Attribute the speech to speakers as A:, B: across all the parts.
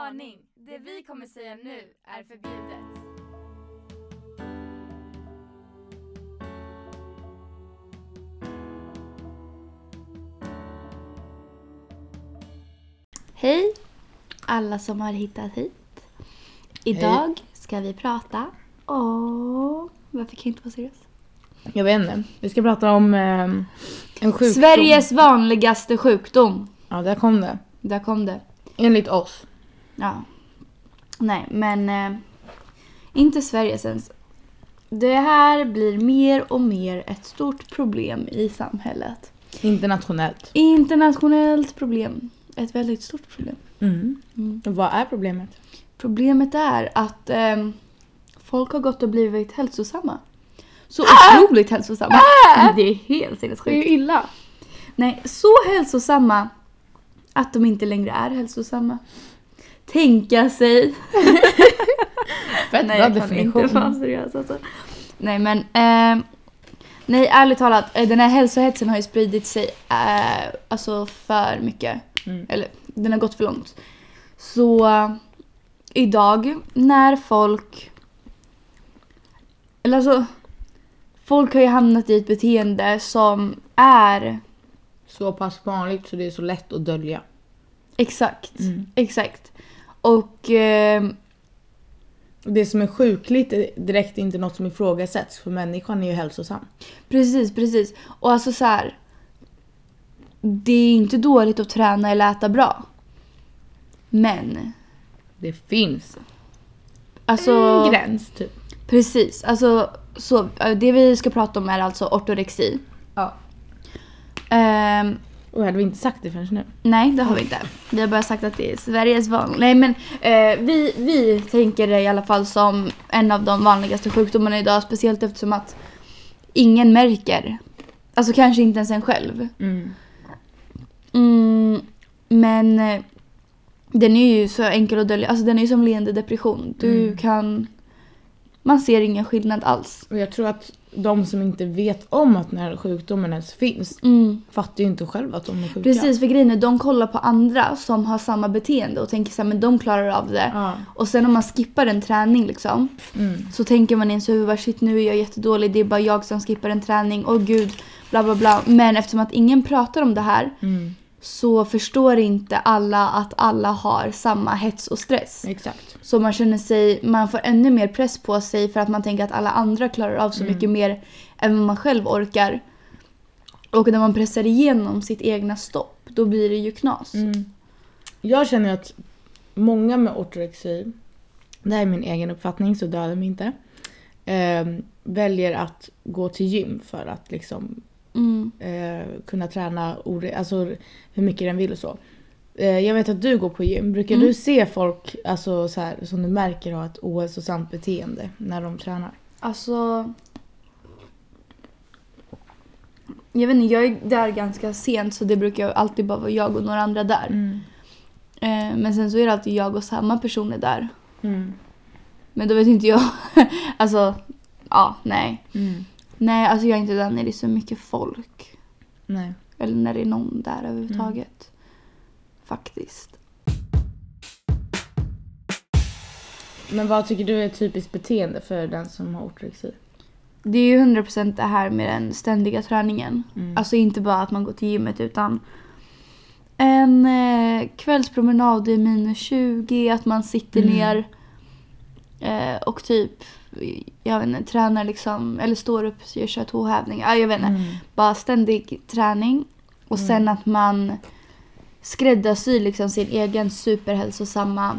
A: Varning! Det vi kommer säga nu är förbjudet.
B: Hej alla som har hittat hit. Idag ska vi prata om... Varför kan jag inte vara seriös?
C: Jag vet inte. Vi ska prata om eh, en sjukdom.
B: Sveriges vanligaste sjukdom.
C: Ja, där kom det.
B: Där kom det.
C: Enligt oss.
B: Ja. Nej, men... Eh, inte Sveriges ens. Det här blir mer och mer ett stort problem i samhället.
C: Internationellt.
B: Internationellt problem. Ett väldigt stort problem.
C: Mm. Vad är problemet?
B: Problemet är att ehm, folk har gått och blivit hälsosamma. Så otroligt hälsosamma. Det är helt
A: Ah! Det är ju
B: sinnessjukt.
A: illa.
B: Nej, så hälsosamma att de inte längre är hälsosamma. Tänka sig. Nej,
C: Fett bra
B: jag kan
C: definition.
B: inte vara seriös alltså. Nej, men... ehm, nej, ärligt talat. eh, Den här hälsohetsen har ju spridit sig eh, alltså för mycket.
C: Mm.
B: Eller, den har gått för långt. Så eh, idag när folk... Eller alltså... Folk har ju hamnat i ett beteende som är
C: Så pass vanligt så det är så lätt att dölja.
B: exakt.
C: Mm.
B: Exakt. Och... ehm,
C: Det som är sjukligt är direkt inte något som ifrågasätts för människan är ju hälsosam.
B: Precis, precis. Och alltså så här. Det är inte dåligt att träna eller äta bra. Men,
C: Det finns
B: alltså...
C: en gräns typ.
B: Precis. Alltså, så, eh, det vi ska prata om är alltså ortorexi.
C: Ja.
B: Ehm,
C: Och hade vi inte sagt det förrän nu.
B: nej, det har vi inte. Vi har bara sagt att det är Sveriges van. Nej, men eh, vi, vi tänker det i alla fall som en av de vanligaste sjukdomarna idag. Speciellt eftersom att ingen märker. Alltså kanske inte ens en själv. Mm, men eh, den är ju så enkel att dölja. Alltså den är ju som leende depression. Du kan... Man ser ingen skillnad alls.
C: Och jag tror att de som inte vet om att den här sjukdomen ens finns
B: Mm.
C: fattar ju inte själva att de är sjuka.
B: Precis, för grejen är de kollar på andra som har samma beteende och tänker så här, men de klarar av det.
C: Ja.
B: Och sen om man skippar en träning liksom
C: Mm.
B: så tänker man i ens huvud bara shit nu är jag jättedålig, det är bara jag som skippar en träning, åh gud, bla bla bla. Men eftersom att ingen pratar om det här
C: Mm.
B: så förstår inte alla att alla har samma hets och stress.
C: Exakt.
B: Så man känner sig, man får ännu mer press på sig för att man tänker att alla andra klarar av så mycket mer än vad man själv orkar. Och när man pressar igenom sitt egna stopp, då blir det ju knas.
C: Mm. Jag känner att många med ortorexi, det här är min egen uppfattning så döda mig inte, ehm, väljer att gå till gym för att liksom
B: Mm.
C: eh, kunna träna ore- alltså, hur mycket den vill och så. Eh, jag vet att du går på gym. Brukar
B: Mm.
C: du se folk alltså, så här, som du märker har ett ohälsosamt beteende när de tränar?
B: Alltså... Jag vet inte, jag är där ganska sent så det brukar alltid bara vara jag och några andra där.
C: Mm.
B: Eh, men sen så är det alltid jag och samma personer där.
C: Mm.
B: Men då vet inte jag. alltså, ja, nej. Nej, alltså jag är inte där när det är så mycket folk.
C: Nej.
B: Eller när det är någon där överhuvudtaget. Faktiskt.
C: Men vad tycker du är ett typiskt beteende för den som har ortorexi?
B: Det är ju 100% det här med den ständiga träningen.
C: Mm.
B: Alltså inte bara att man går till gymmet utan en eh, kvällspromenad i minus 20, att man sitter
C: Mm.
B: ner eh, och typ jag vet inte, tränar liksom, eller står upp och kör tåhävningar. Ah, jag vet inte.
C: Mm.
B: Bara ständig träning. Och sen att man skräddarsyr liksom sin egen superhälsosamma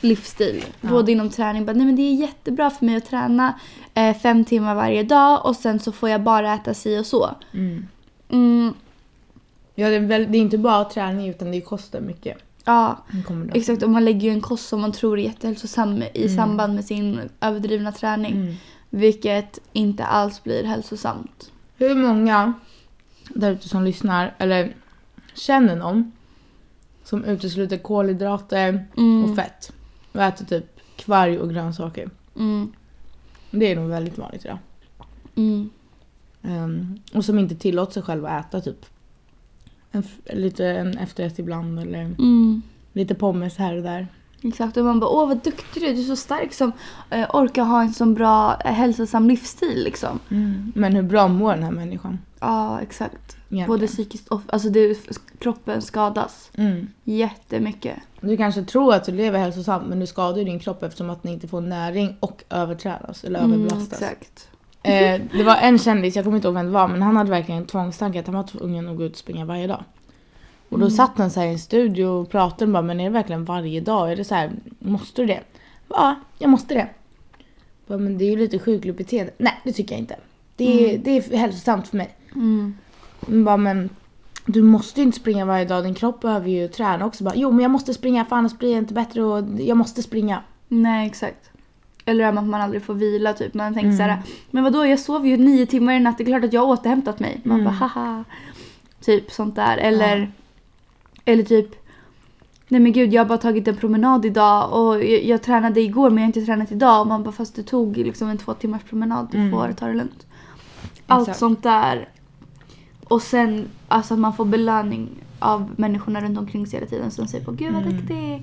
B: livsstil.
C: Ja.
B: Både inom träning, bara, nej men det är jättebra för mig att träna eh, fem timmar varje dag och sen så får jag bara äta si och så.
C: Mm.
B: Mm,
C: Ja, det, är väl, det är inte bara träning utan det kostar mycket.
B: ja,
C: Nu kommer det.
B: exakt. Och man lägger ju en kost som man tror är jättehälsosam i samband med sin överdrivna träning.
C: Mm.
B: Vilket inte alls blir hälsosamt.
C: Hur många där ute som lyssnar eller känner någon som utesluter kolhydrater
B: Mm.
C: och fett och äter typ kvarg och grönsaker?
B: Mm,
C: Det är nog väldigt vanligt idag.
B: mm,
C: Ehm, och som inte tillåter sig själv att äta typ en, f- lite en efterrätt ibland eller
B: mm.
C: Lite pommes här och där.
B: Exakt, och man bara åh vad duktig du är, du är så stark som eh, orkar ha en så bra eh, hälsosam livsstil liksom.
C: Men hur bra mår den här människan?
B: Ja, exakt.
C: egentligen?
B: Både psykiskt och, alltså det, kroppen skadas
C: Mm.
B: jättemycket.
C: Du kanske tror att du lever hälsosamt men du skadar ju din kropp eftersom att den inte får näring och överträdas eller överbelastas.
B: Mm, exakt.
C: Eh, det var en kändis, jag kommer inte ihåg vem det var, men han hade verkligen en tvångstanke att han var tvungen att gå ut och springa varje dag. Och då satt han så här i en studio och pratade och bara, men är det verkligen varje dag? Är det så här, måste du det? Ja, jag måste det. Jag Bara, men det är ju lite sjukligt beteende. Nej, det tycker jag inte. Det är, det är hälsosamt för mig.
B: Mm.
C: Hon bara, men du måste ju inte springa varje dag, din kropp behöver ju träna också. Bara, jo men jag måste springa för annars blir jag inte bättre och jag måste springa.
B: Nej, exakt. Eller det här med att man aldrig får vila typ. Man tänker så
C: Mm.
B: här, men vadå jag sov ju nio timmar i natt, det är klart att jag har återhämtat mig. Man
C: Mm.
B: bara haha. Typ sånt där. Eller, eller typ, nej men gud jag har bara tagit en promenad idag och jag, jag tränade igår men jag har inte tränat idag. Och man bara fast du tog liksom en två timmars promenad, du
C: Mm.
B: får ta det lugnt. Allt
C: Exakt.
B: sånt där. Och sen alltså att man får belöning av människorna runt omkring sig hela tiden som säger på gud vad
C: Mm.
B: duktig.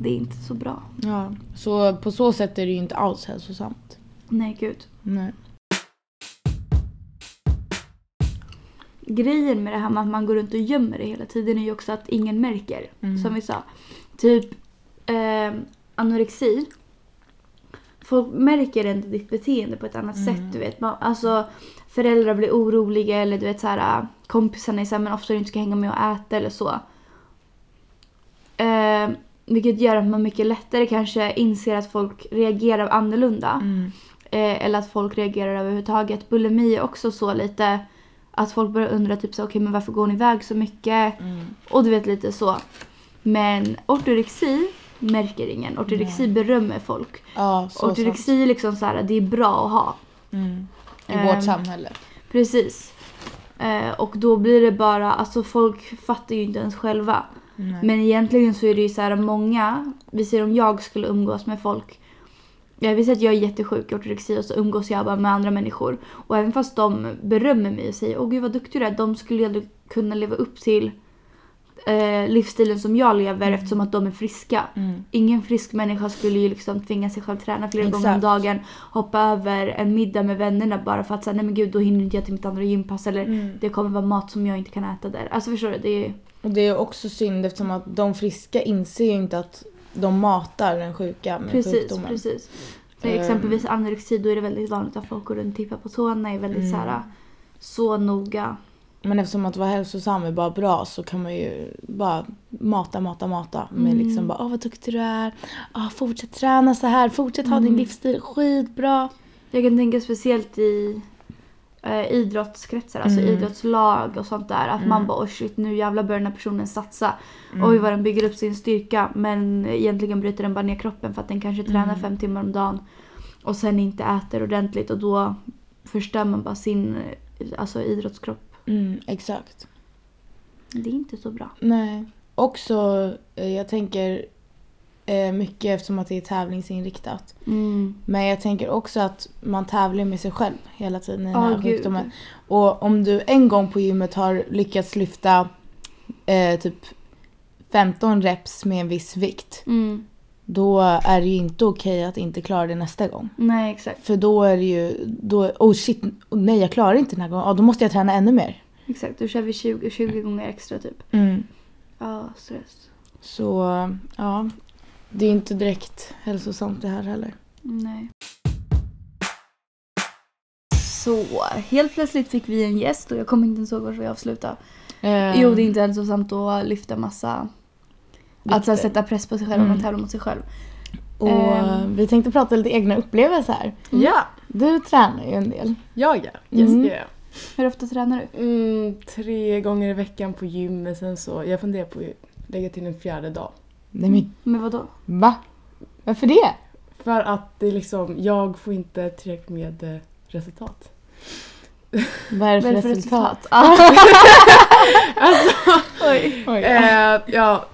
B: Det är inte så bra.
C: Ja, så på så sätt är det ju inte alls hälsosamt.
B: Nej gud.
C: Nej.
B: Grejen med det här med att man går runt och gömmer det hela tiden är ju också att ingen märker.
C: Mm.
B: Som vi sa. Typ eh, anorexi. Folk märker ändå ditt beteende på ett annat sätt. Du vet. Man, alltså, föräldrar blir oroliga eller du vet så här, kompisarna är så här, men ofta du inte ska hänga med och äta eller så. Eh, vilket gör att man mycket lättare kanske inser att folk reagerar annorlunda.
C: Mm.
B: Eh, eller att folk reagerar överhuvudtaget. Bulimi är också så lite att folk börjar undra typ så okej men varför går ni iväg så mycket? Och du vet lite så. Men ortorexi märker ingen. Ortorexi berömmer folk.
C: Ja, så sant.
B: ortorexi är liksom så här det är bra att ha.
C: Mm. I
B: Ehm.
C: vårt samhälle.
B: Precis. Eh, och då blir det bara, alltså folk fattar ju inte ens själva.
C: Nej.
B: Men egentligen så är det ju så här många, vi säger om jag skulle umgås med folk. Jag visar att jag är jättesjuk i ortorexi och så umgås jag bara med andra människor. Och även fast de berömmer mig och säger åh gud vad duktig du är, de skulle ju aldrig kunna leva upp till eh, livsstilen som jag lever eftersom att de är friska.
C: Mm.
B: Ingen frisk människa skulle ju liksom tvinga sig själv träna flera gånger om
C: Exakt.
B: dagen, hoppa över en middag med vännerna bara för att säga nej men gud då hinner inte jag till mitt andra gympass eller
C: Mm.
B: det kommer vara mat som jag inte kan äta där. Alltså förstår du? Det är...
C: Och det är också synd eftersom att de friska inser ju inte att de matar den sjuka med
B: Precis,
C: sjukdomen.
B: precis. Så
C: Ehm.
B: exempelvis anorexi, då är det väldigt vanligt att folk går runt och tippar på tårna, är väldigt
C: Mm.
B: så här, så noga.
C: Men eftersom att vara hälsosam är bara bra så kan man ju bara mata, mata, mata. Med
B: Mm.
C: liksom bara, åh vad duktig du är. Ah, fortsätt träna så här, fortsätt ha
B: Mm.
C: din livsstil, skitbra.
B: Jag kan tänka speciellt i eh, idrottskretsar, alltså
C: Mm.
B: idrottslag och sånt där. Att man bara oh shit nu jävlar börjar den här personen satsa. Mm.
C: Mm.
B: Oj vad den bygger upp sin styrka men egentligen bryter den bara ner kroppen för att den kanske
C: Mm.
B: tränar fem timmar om dagen och sen inte äter ordentligt och då förstör man bara sin eh, alltså, idrottskropp.
C: Mm, exakt.
B: Det är inte så bra.
C: Nej. Också, eh, jag tänker eh, mycket eftersom att det är tävlingsinriktat.
B: Mm.
C: Men jag tänker också att man tävlar med sig själv hela tiden i den
B: Ja,
C: här
B: gud.
C: sjukdomen. Och om du en gång på gymmet har lyckats lyfta eh, typ 15 reps med en viss vikt.
B: Mm.
C: Då är det ju inte okej att inte klara det nästa gång.
B: Nej exakt.
C: För då är det ju, då, oh shit, oh nej jag klarar inte den här gången. Ja, då måste jag träna ännu mer.
B: Exakt, då kör vi 20, 20 gånger extra typ.
C: Mm.
B: Ja, stress.
C: Så ja, det är inte direkt hälsosamt det här heller.
B: Nej. Så, helt plötsligt fick vi en gäst och jag kommer inte ens ihåg varför jag avslutade.
C: Eh,
B: Jo, det är inte hälsosamt att lyfta massa... Att sen sätta press på sig själv och
C: Mm.
B: man tävlar mot sig själv.
C: Och
B: ehm.
C: vi tänkte prata lite egna upplevelser här.
D: Ja,
C: Du tränar ju en del.
D: jag ja. Yes,
C: Mm.
D: det gör jag.
B: Hur ofta tränar du?
D: Mm, tre gånger i veckan på gymmet, sen så, jag funderar på att lägga till en fjärde dag.
C: Nej men
B: Men vadå?
C: va? Varför det?
D: För att det är liksom, jag får inte tillräckligt med eh, resultat.
C: Vad är det
B: Vad är
C: för
B: det för
C: resultat?
B: resultat? Ah,
C: Oj.
D: Alltså, Eh, ja,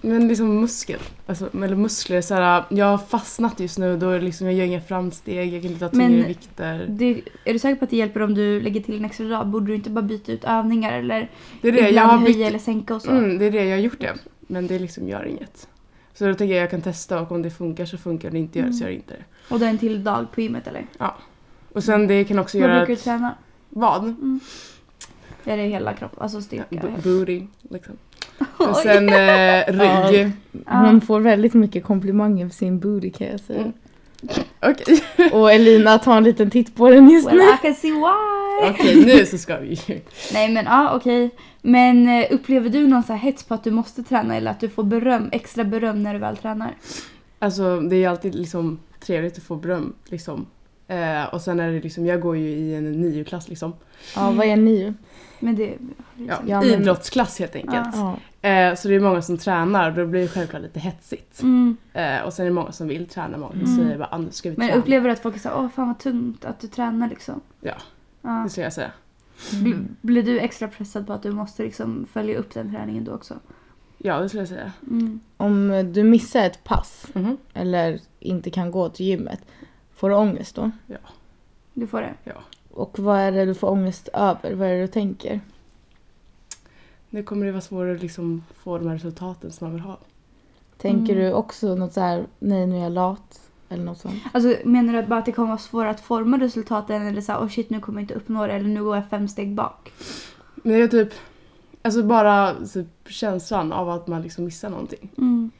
D: men liksom muskel. Alltså, eller muskler, så här, jag har fastnat just nu då är det liksom, jag gör inga framsteg, jag kan inte ta tyngre
B: Men-
D: vikter.
B: det, är du säker på att det hjälper om du lägger till en extra dag? Borde du inte bara byta ut övningar eller
D: Det är det, jag
B: ibland
D: har
B: höja
D: bytt,
B: eller sänka och så?
D: mm, det är det, jag har gjort det. Men det liksom gör inget. Så då tänker jag jag kan testa och om det funkar så funkar det inte gör det så gör det inte det.
B: Och det är en till dag på gymmet eller?
D: Och sen det kan också
B: Vad brukar
D: göra
B: du
D: att,
B: träna?
D: vad?
B: Är det hela kroppen? Alltså styrka?
D: B- booty liksom. Och sen eh, rygg.
B: Ja.
C: Hon får väldigt mycket komplimanger för sin booty kan jag säga.
D: Mm. Okej,
C: Och Elina tar en liten titt på den just
B: Well
C: nu.
B: I can see why!
D: Okej, nu så ska vi ju.
B: Nej men ja okej. Men eh, upplever du någon så här hets på att du måste träna eller att du får beröm, extra beröm när du väl tränar?
D: Alltså det är ju alltid liksom trevligt att få beröm liksom. Eh, och sen är det liksom, jag går ju i en nioklass liksom.
C: Ja, vad är ni?
B: Men det... liksom.
D: Ja,
C: Ja, men-
D: idrottsklass helt enkelt.
C: Ja.
D: Eh, så det är många som tränar och då blir det självklart lite hetsigt.
B: Mm.
D: Eh, och sen är det många som vill träna, många som
B: Mm.
D: säger bara "Ah, nu ska vi
B: Men
D: träna.
B: upplever du att folk är såhär åh fan vad tungt att du tränar liksom?
D: Ja.
B: ja.
D: Det skulle jag säga.
B: Blir, blir du extra pressad på att du måste liksom följa upp den träningen då också?
D: Ja, det skulle jag säga.
B: Mm.
C: Om du missar ett pass
D: Mhm.
C: eller inte kan gå till gymmet, får du ångest då?
B: Du får det?
C: Och vad är det du får ångest över? Vad är det du tänker?
D: Nu kommer det vara svårare att liksom få de här resultaten som man vill ha.
C: Tänker
B: Mm.
C: du också något så här, nej nu är jag lat? Eller något sånt?
B: Alltså menar du att bara att det kommer vara svårare att forma resultaten eller såhär åh shit nu kommer jag inte uppnå det eller nu går jag fem steg bak?
D: Men det är typ, alltså bara typ, känslan av att man liksom missar någonting.
B: Mm.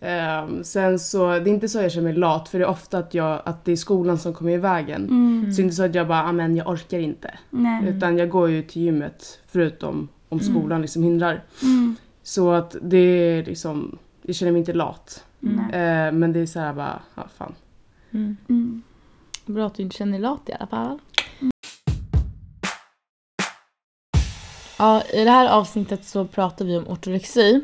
D: Ehm, sen så, det är inte så jag känner mig lat för det är ofta att, jag, att det är skolan som kommer i vägen.
B: Mm.
D: Så det är inte så att jag bara, "Ah, men jag orkar inte.
B: Nej.
D: Utan jag går ju till gymmet förutom om skolan liksom hindrar.
B: Mm.
D: Så att det är liksom, jag känner mig inte lat.
B: Nej.
D: Eh, men det är så här bara, ja fan.
B: Mm.
C: Bra att du inte känner dig lat i alla fall. Ja, i det här avsnittet så pratar vi om ortorexi.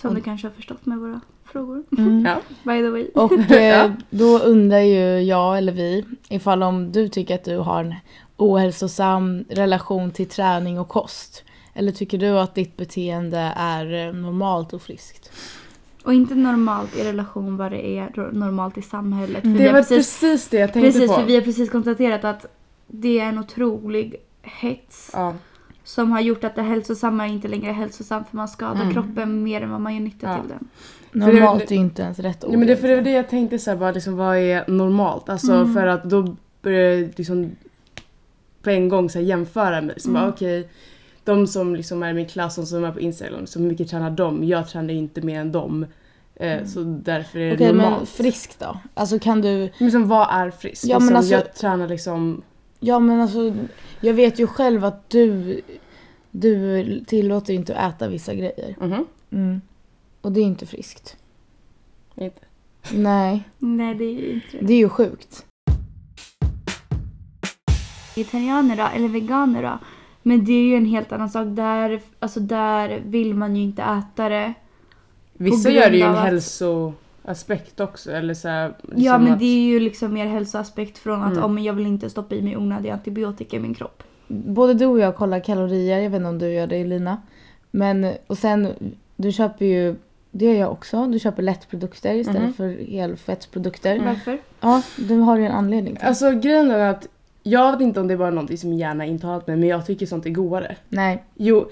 B: Som du kanske har förstått med våra frågor.
D: Ja.
B: By the way.
C: Och eh, då undrar ju jag eller vi ifall om du tycker att du har en ohälsosam relation till träning och kost. Eller tycker du att ditt beteende är eh, normalt och friskt?
B: Och inte normalt i relation vad det är ro- normalt i samhället. För vi
D: Mm. Det
B: har
D: var precis det jag tänkte
B: Mm. precis,
D: på.
B: för vi har precis konstaterat att det är en otrolig hets
D: Ja.
B: som har gjort att det hälsosamma inte längre är hälsosamt för man skadar kroppen mer än vad man gör nytta
D: Mm. Ja.
B: till den.
D: det-
C: Normalt är ju inte ens rätt ord.
D: Ja, men det, för det var det jag tänkte så här, bara, liksom, vad är normalt? Alltså för att då börjar jag liksom på en gång så här, jämföra mig. Liksom, bara, okej, de som liksom är i min klass, de som är på Instagram, så hur mycket tränar de? Jag tränar ju inte mer än dem. Eh, Så därför är det
C: Okej, men
D: normalt. Men,
C: friskt då? Alltså kan du...
D: liksom, vad är friskt?
C: Ja, men
D: liksom,
C: alltså-
D: jag tränar liksom...
C: Ja men alltså, jag vet ju själv att du, du tillåter inte att äta vissa grejer.
D: Mhm.
C: Och det är inte friskt.
D: Inte.
C: Nej,
B: Nej, det är ju inte det.
C: det är ju sjukt.
B: Vegetarianer då, eller veganer då. Men det är ju en helt annan sak. Där, alltså där vill man ju inte äta det.
D: Vissa
B: grund
D: gör det ju en
B: av att-
D: hälsoaspekt också. Eller så här,
B: Ja
D: liksom
B: men
D: att-
B: det är ju liksom mer hälsoaspekt från att
D: Mm.
B: om jag vill inte stoppa i mig onödig antibiotika i min kropp.
C: Både du och jag kollar kalorier, jag vet inte om du gör det Elina. Men, och sen, du köper ju, det gör jag också, du köper lättprodukter istället
D: Mhm.
C: för helfettsprodukter.
B: Varför?
C: Ja, du har ju en anledning till
D: Alltså grejen är att jag vet inte om det är bara någonting som min hjärna intalat mig men jag tycker sånt är godare.
C: Nej.
D: Jo,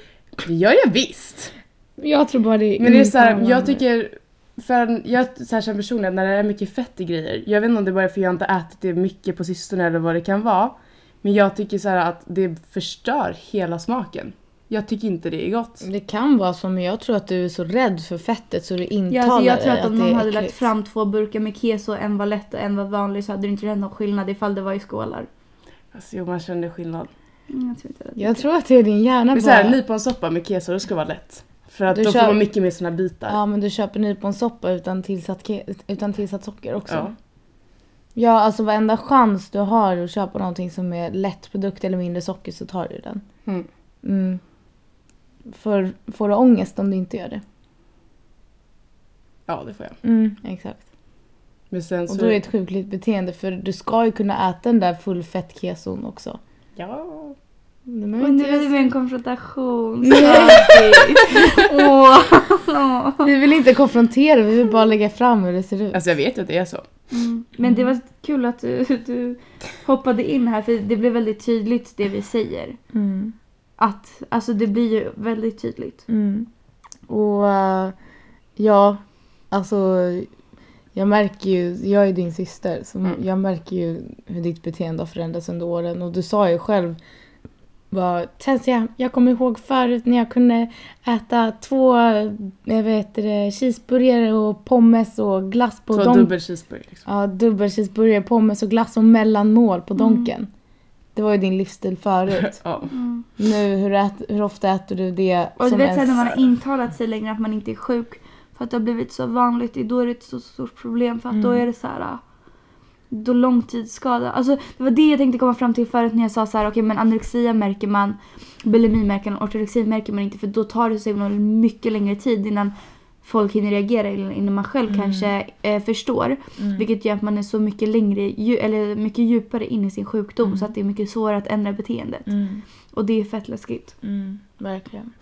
D: det gör jag visst!
C: Jag tror bara det
D: Men det är så här, jag tycker... För en- jag så här, känner personligen att när det är mycket fett i grejer, jag vet inte om det är bara för jag inte ätit det mycket på sistone eller vad det kan vara. Men jag tycker så här att det förstör hela smaken. Jag tycker inte det är gott.
C: Det kan vara så, men jag tror att du är så rädd för fettet så du
B: Ja,
C: intalar
B: alltså jag tror
C: dig
B: att om
C: det
B: någon
C: är
B: hade lagt
C: äckligt.
B: fram två burkar med keso, en var lätt och en var vanlig så hade det inte gjort någon skillnad ifall det var i skålar.
D: Alltså, jo, man känner skillnad.
B: Mm, Jag tror inte det.
C: Jag tror att det är din hjärna
D: Men
C: bara...
D: så här, nyponsoppa med keso, det ska vara lätt. För att
C: Du
D: då
C: kör-
D: får man mycket mer såna bitar.
C: Ja, men du köper nyponsoppa utan tillsatt, ke- utan tillsatt socker också.
D: Ja.
C: Ja. alltså varenda chans du har att köpa någonting som är lätt produkt eller mindre socker så tar du den.
D: Mm.
C: Mm. För, får du ångest om du inte gör det?
D: ja, det får jag.
C: Mm, exakt.
D: Men sen så...
C: Och då är det ett sjukligt beteende för du ska ju kunna äta den där fullfett keson också.
D: Ja.
C: Det
B: Och nu är
C: behöver
B: det
C: inte-
B: med en konfrontation.
C: Vi vill inte konfrontera, vi vill bara lägga fram hur det ser ut.
D: Alltså jag vet ju att det är så.
B: Mm. Men det var kul att du, du hoppade in här för det blev väldigt tydligt det vi säger.
C: Mm.
B: Att, alltså det blir ju väldigt tydligt.
C: Mm. Och eh, ja, alltså jag märker ju, jag är din syster, så
D: Mm.
C: jag märker ju hur ditt beteende har förändrats under åren och du sa ju själv bara, Tensia, jag kommer ihåg förut när jag kunde äta två eh, vad heter det, cheeseburgare och pommes och glass på
D: Två
C: Don-
D: dubbel cheeseburgare. Liksom.
C: Ja, dubbel cheeseburgare, pommes och glass och mellanmål
D: Mm.
C: på Donken. Det var ju din livsstil förut.
D: Ja.
B: Mm.
C: nu, hur, ät, hur ofta äter du det
B: Och du
C: som
B: vet sen
C: ens-
B: när man har intalat sig längre att man inte är sjuk för att det har blivit så vanligt, det är då är det ett så stort problem för att
D: Mm.
B: då är det så här ah, då långtidsskada. Alltså det var det jag tänkte komma fram till förut när jag sa så här okej men anorexia märker man, bulimi märker man, ortorexi märker man inte för då tar det så himla mycket längre tid innan folk hinner reagera eller innan man själv
D: Mm.
B: kanske eh, förstår. Vilket gör att man är så mycket längre, dju- eller mycket djupare in i sin sjukdom
D: Mm.
B: så att det är mycket svårare att ändra beteendet.
C: Mm,
B: Och det är fett läskigt.
C: mm, verkligen.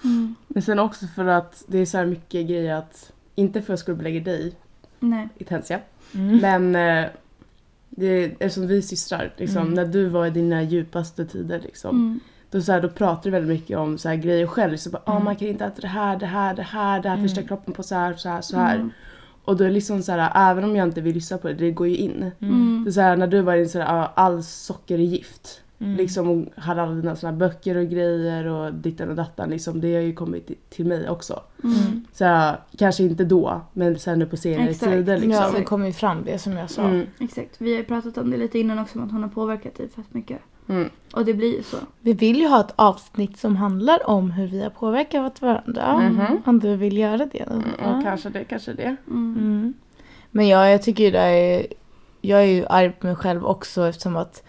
D: Men sen också för att det är så här mycket grejer att, inte för att skuldbelägga dig
B: Nej.
D: i Tensia,
C: Mm.
D: men eh, det, eftersom vi är systrar, liksom,
C: Mm.
D: när du var i dina djupaste tider liksom,
B: Mm.
D: då, så här, då pratade du väldigt mycket om så här, grejer själv. Så bara, ah,
C: Mm.
D: man kan inte äta det här, det här, det här, det här
C: Mm.
D: förstör kroppen på så här, så här, så här.
B: Mm.
D: Och då är det liksom så här, även om jag inte vill lyssna på det, det går ju in.
B: Mm.
D: Så, så här, när du var i så här, ah, all socker är gift.
C: Mm.
D: Liksom och hade alla dina såna här böcker och grejer och ditten och dattan liksom. Det har ju kommit till- till mig också.
C: Mm.
D: Så här, kanske inte då men sen nu på senare
B: Exakt.
D: tider liksom.
C: Ja, det kom ju fram det som jag sa.
D: Mm,
B: Exakt, vi har ju pratat om det lite innan också om att hon har påverkat dig fett mycket.
D: mm.
B: Och det blir ju så.
C: Vi vill ju ha ett avsnitt som handlar om hur vi har påverkat varandra.
D: Mhm.
C: Om du vill göra det. då.
D: Ja, Mm, kanske det, kanske det.
B: Mm.
C: Mm. Men ja, jag tycker ju det är... Jag är ju arg på mig själv också eftersom att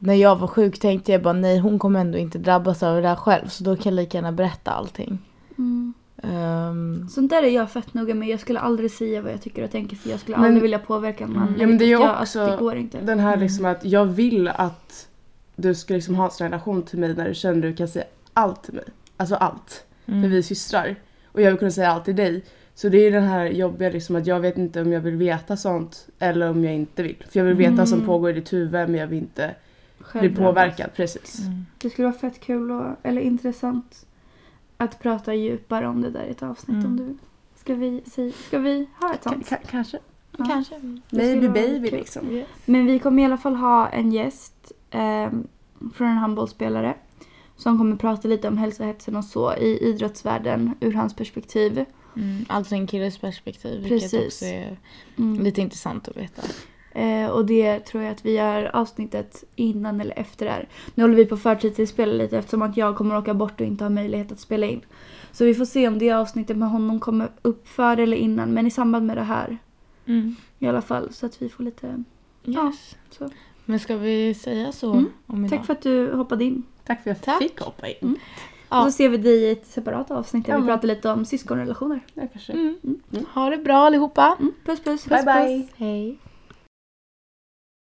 C: när jag var sjuk tänkte jag bara nej hon kommer ändå inte drabbas av det där själv så då kan jag lika gärna berätta allting.
B: Mm.
C: Ehm,
B: Sånt där är jag fett noga med. Jag skulle aldrig säga vad jag tycker och tänker för jag skulle
D: Men- Mm.
B: aldrig vilja påverka någon annan.
D: Ja, men det är ju
B: vilket jag-
D: också-
B: alltså, Det går inte.
D: Den här liksom att jag vill att du ska liksom ha en sån relation till mig när du känner att du kan säga allt till mig. Alltså allt.
B: Mm.
D: För vi är systrar. Och jag vill kunna säga allt till dig. Så det är den här jobbiga liksom att jag vet inte om jag vill veta sånt eller om jag inte vill. För jag vill veta vad som
B: Mm.
D: pågår i ditt huvud men jag vill inte bli
B: Själv drabbas.
D: påverkad. Precis.
C: Mm.
B: Det skulle vara fett kul och, eller intressant att prata djupare om det där i ett avsnitt
C: Mm.
B: om du vill. Ska vi, säga- ska vi ha ett sånt?
D: Ka- kanske.
B: Ja.
C: Kanske.
B: Det skulle
D: Maybe
B: vara
D: baby
B: kul.
D: liksom.
B: Men vi kommer i alla fall ha en gäst ehm, från en handbollsspelare som kommer prata lite om hälsohetsen och så i idrottsvärlden ur hans perspektiv.
C: Mm. Alltså en killes perspektiv vilket
B: Precis.
C: också är
B: Mm.
C: lite intressant att veta.
B: Eh, och det tror jag att vi gör avsnittet innan eller efter det här. Nu håller vi på att förtidsinspela lite eftersom att jag kommer åka bort och inte har möjlighet att spela in. Så vi får se om det avsnittet med honom kommer upp före eller innan men i samband med det här i alla fall så att vi får lite...
C: Yes.
B: så.
C: Men ska vi säga så
B: Mm.
C: om idag?
B: Tack för att du hoppade in.
D: Tack för att jag
C: Tack.
D: fick hoppa in.
C: Ja.
B: Och så ser vi dig i ett separat avsnitt där
D: Ja,
B: vi
D: men-
B: pratar lite om syskonrelationer.
D: Ja, kanske.
C: Mm. Ha det bra allihopa.
B: Mm, puss puss.
D: Bye, bye.
B: Hej.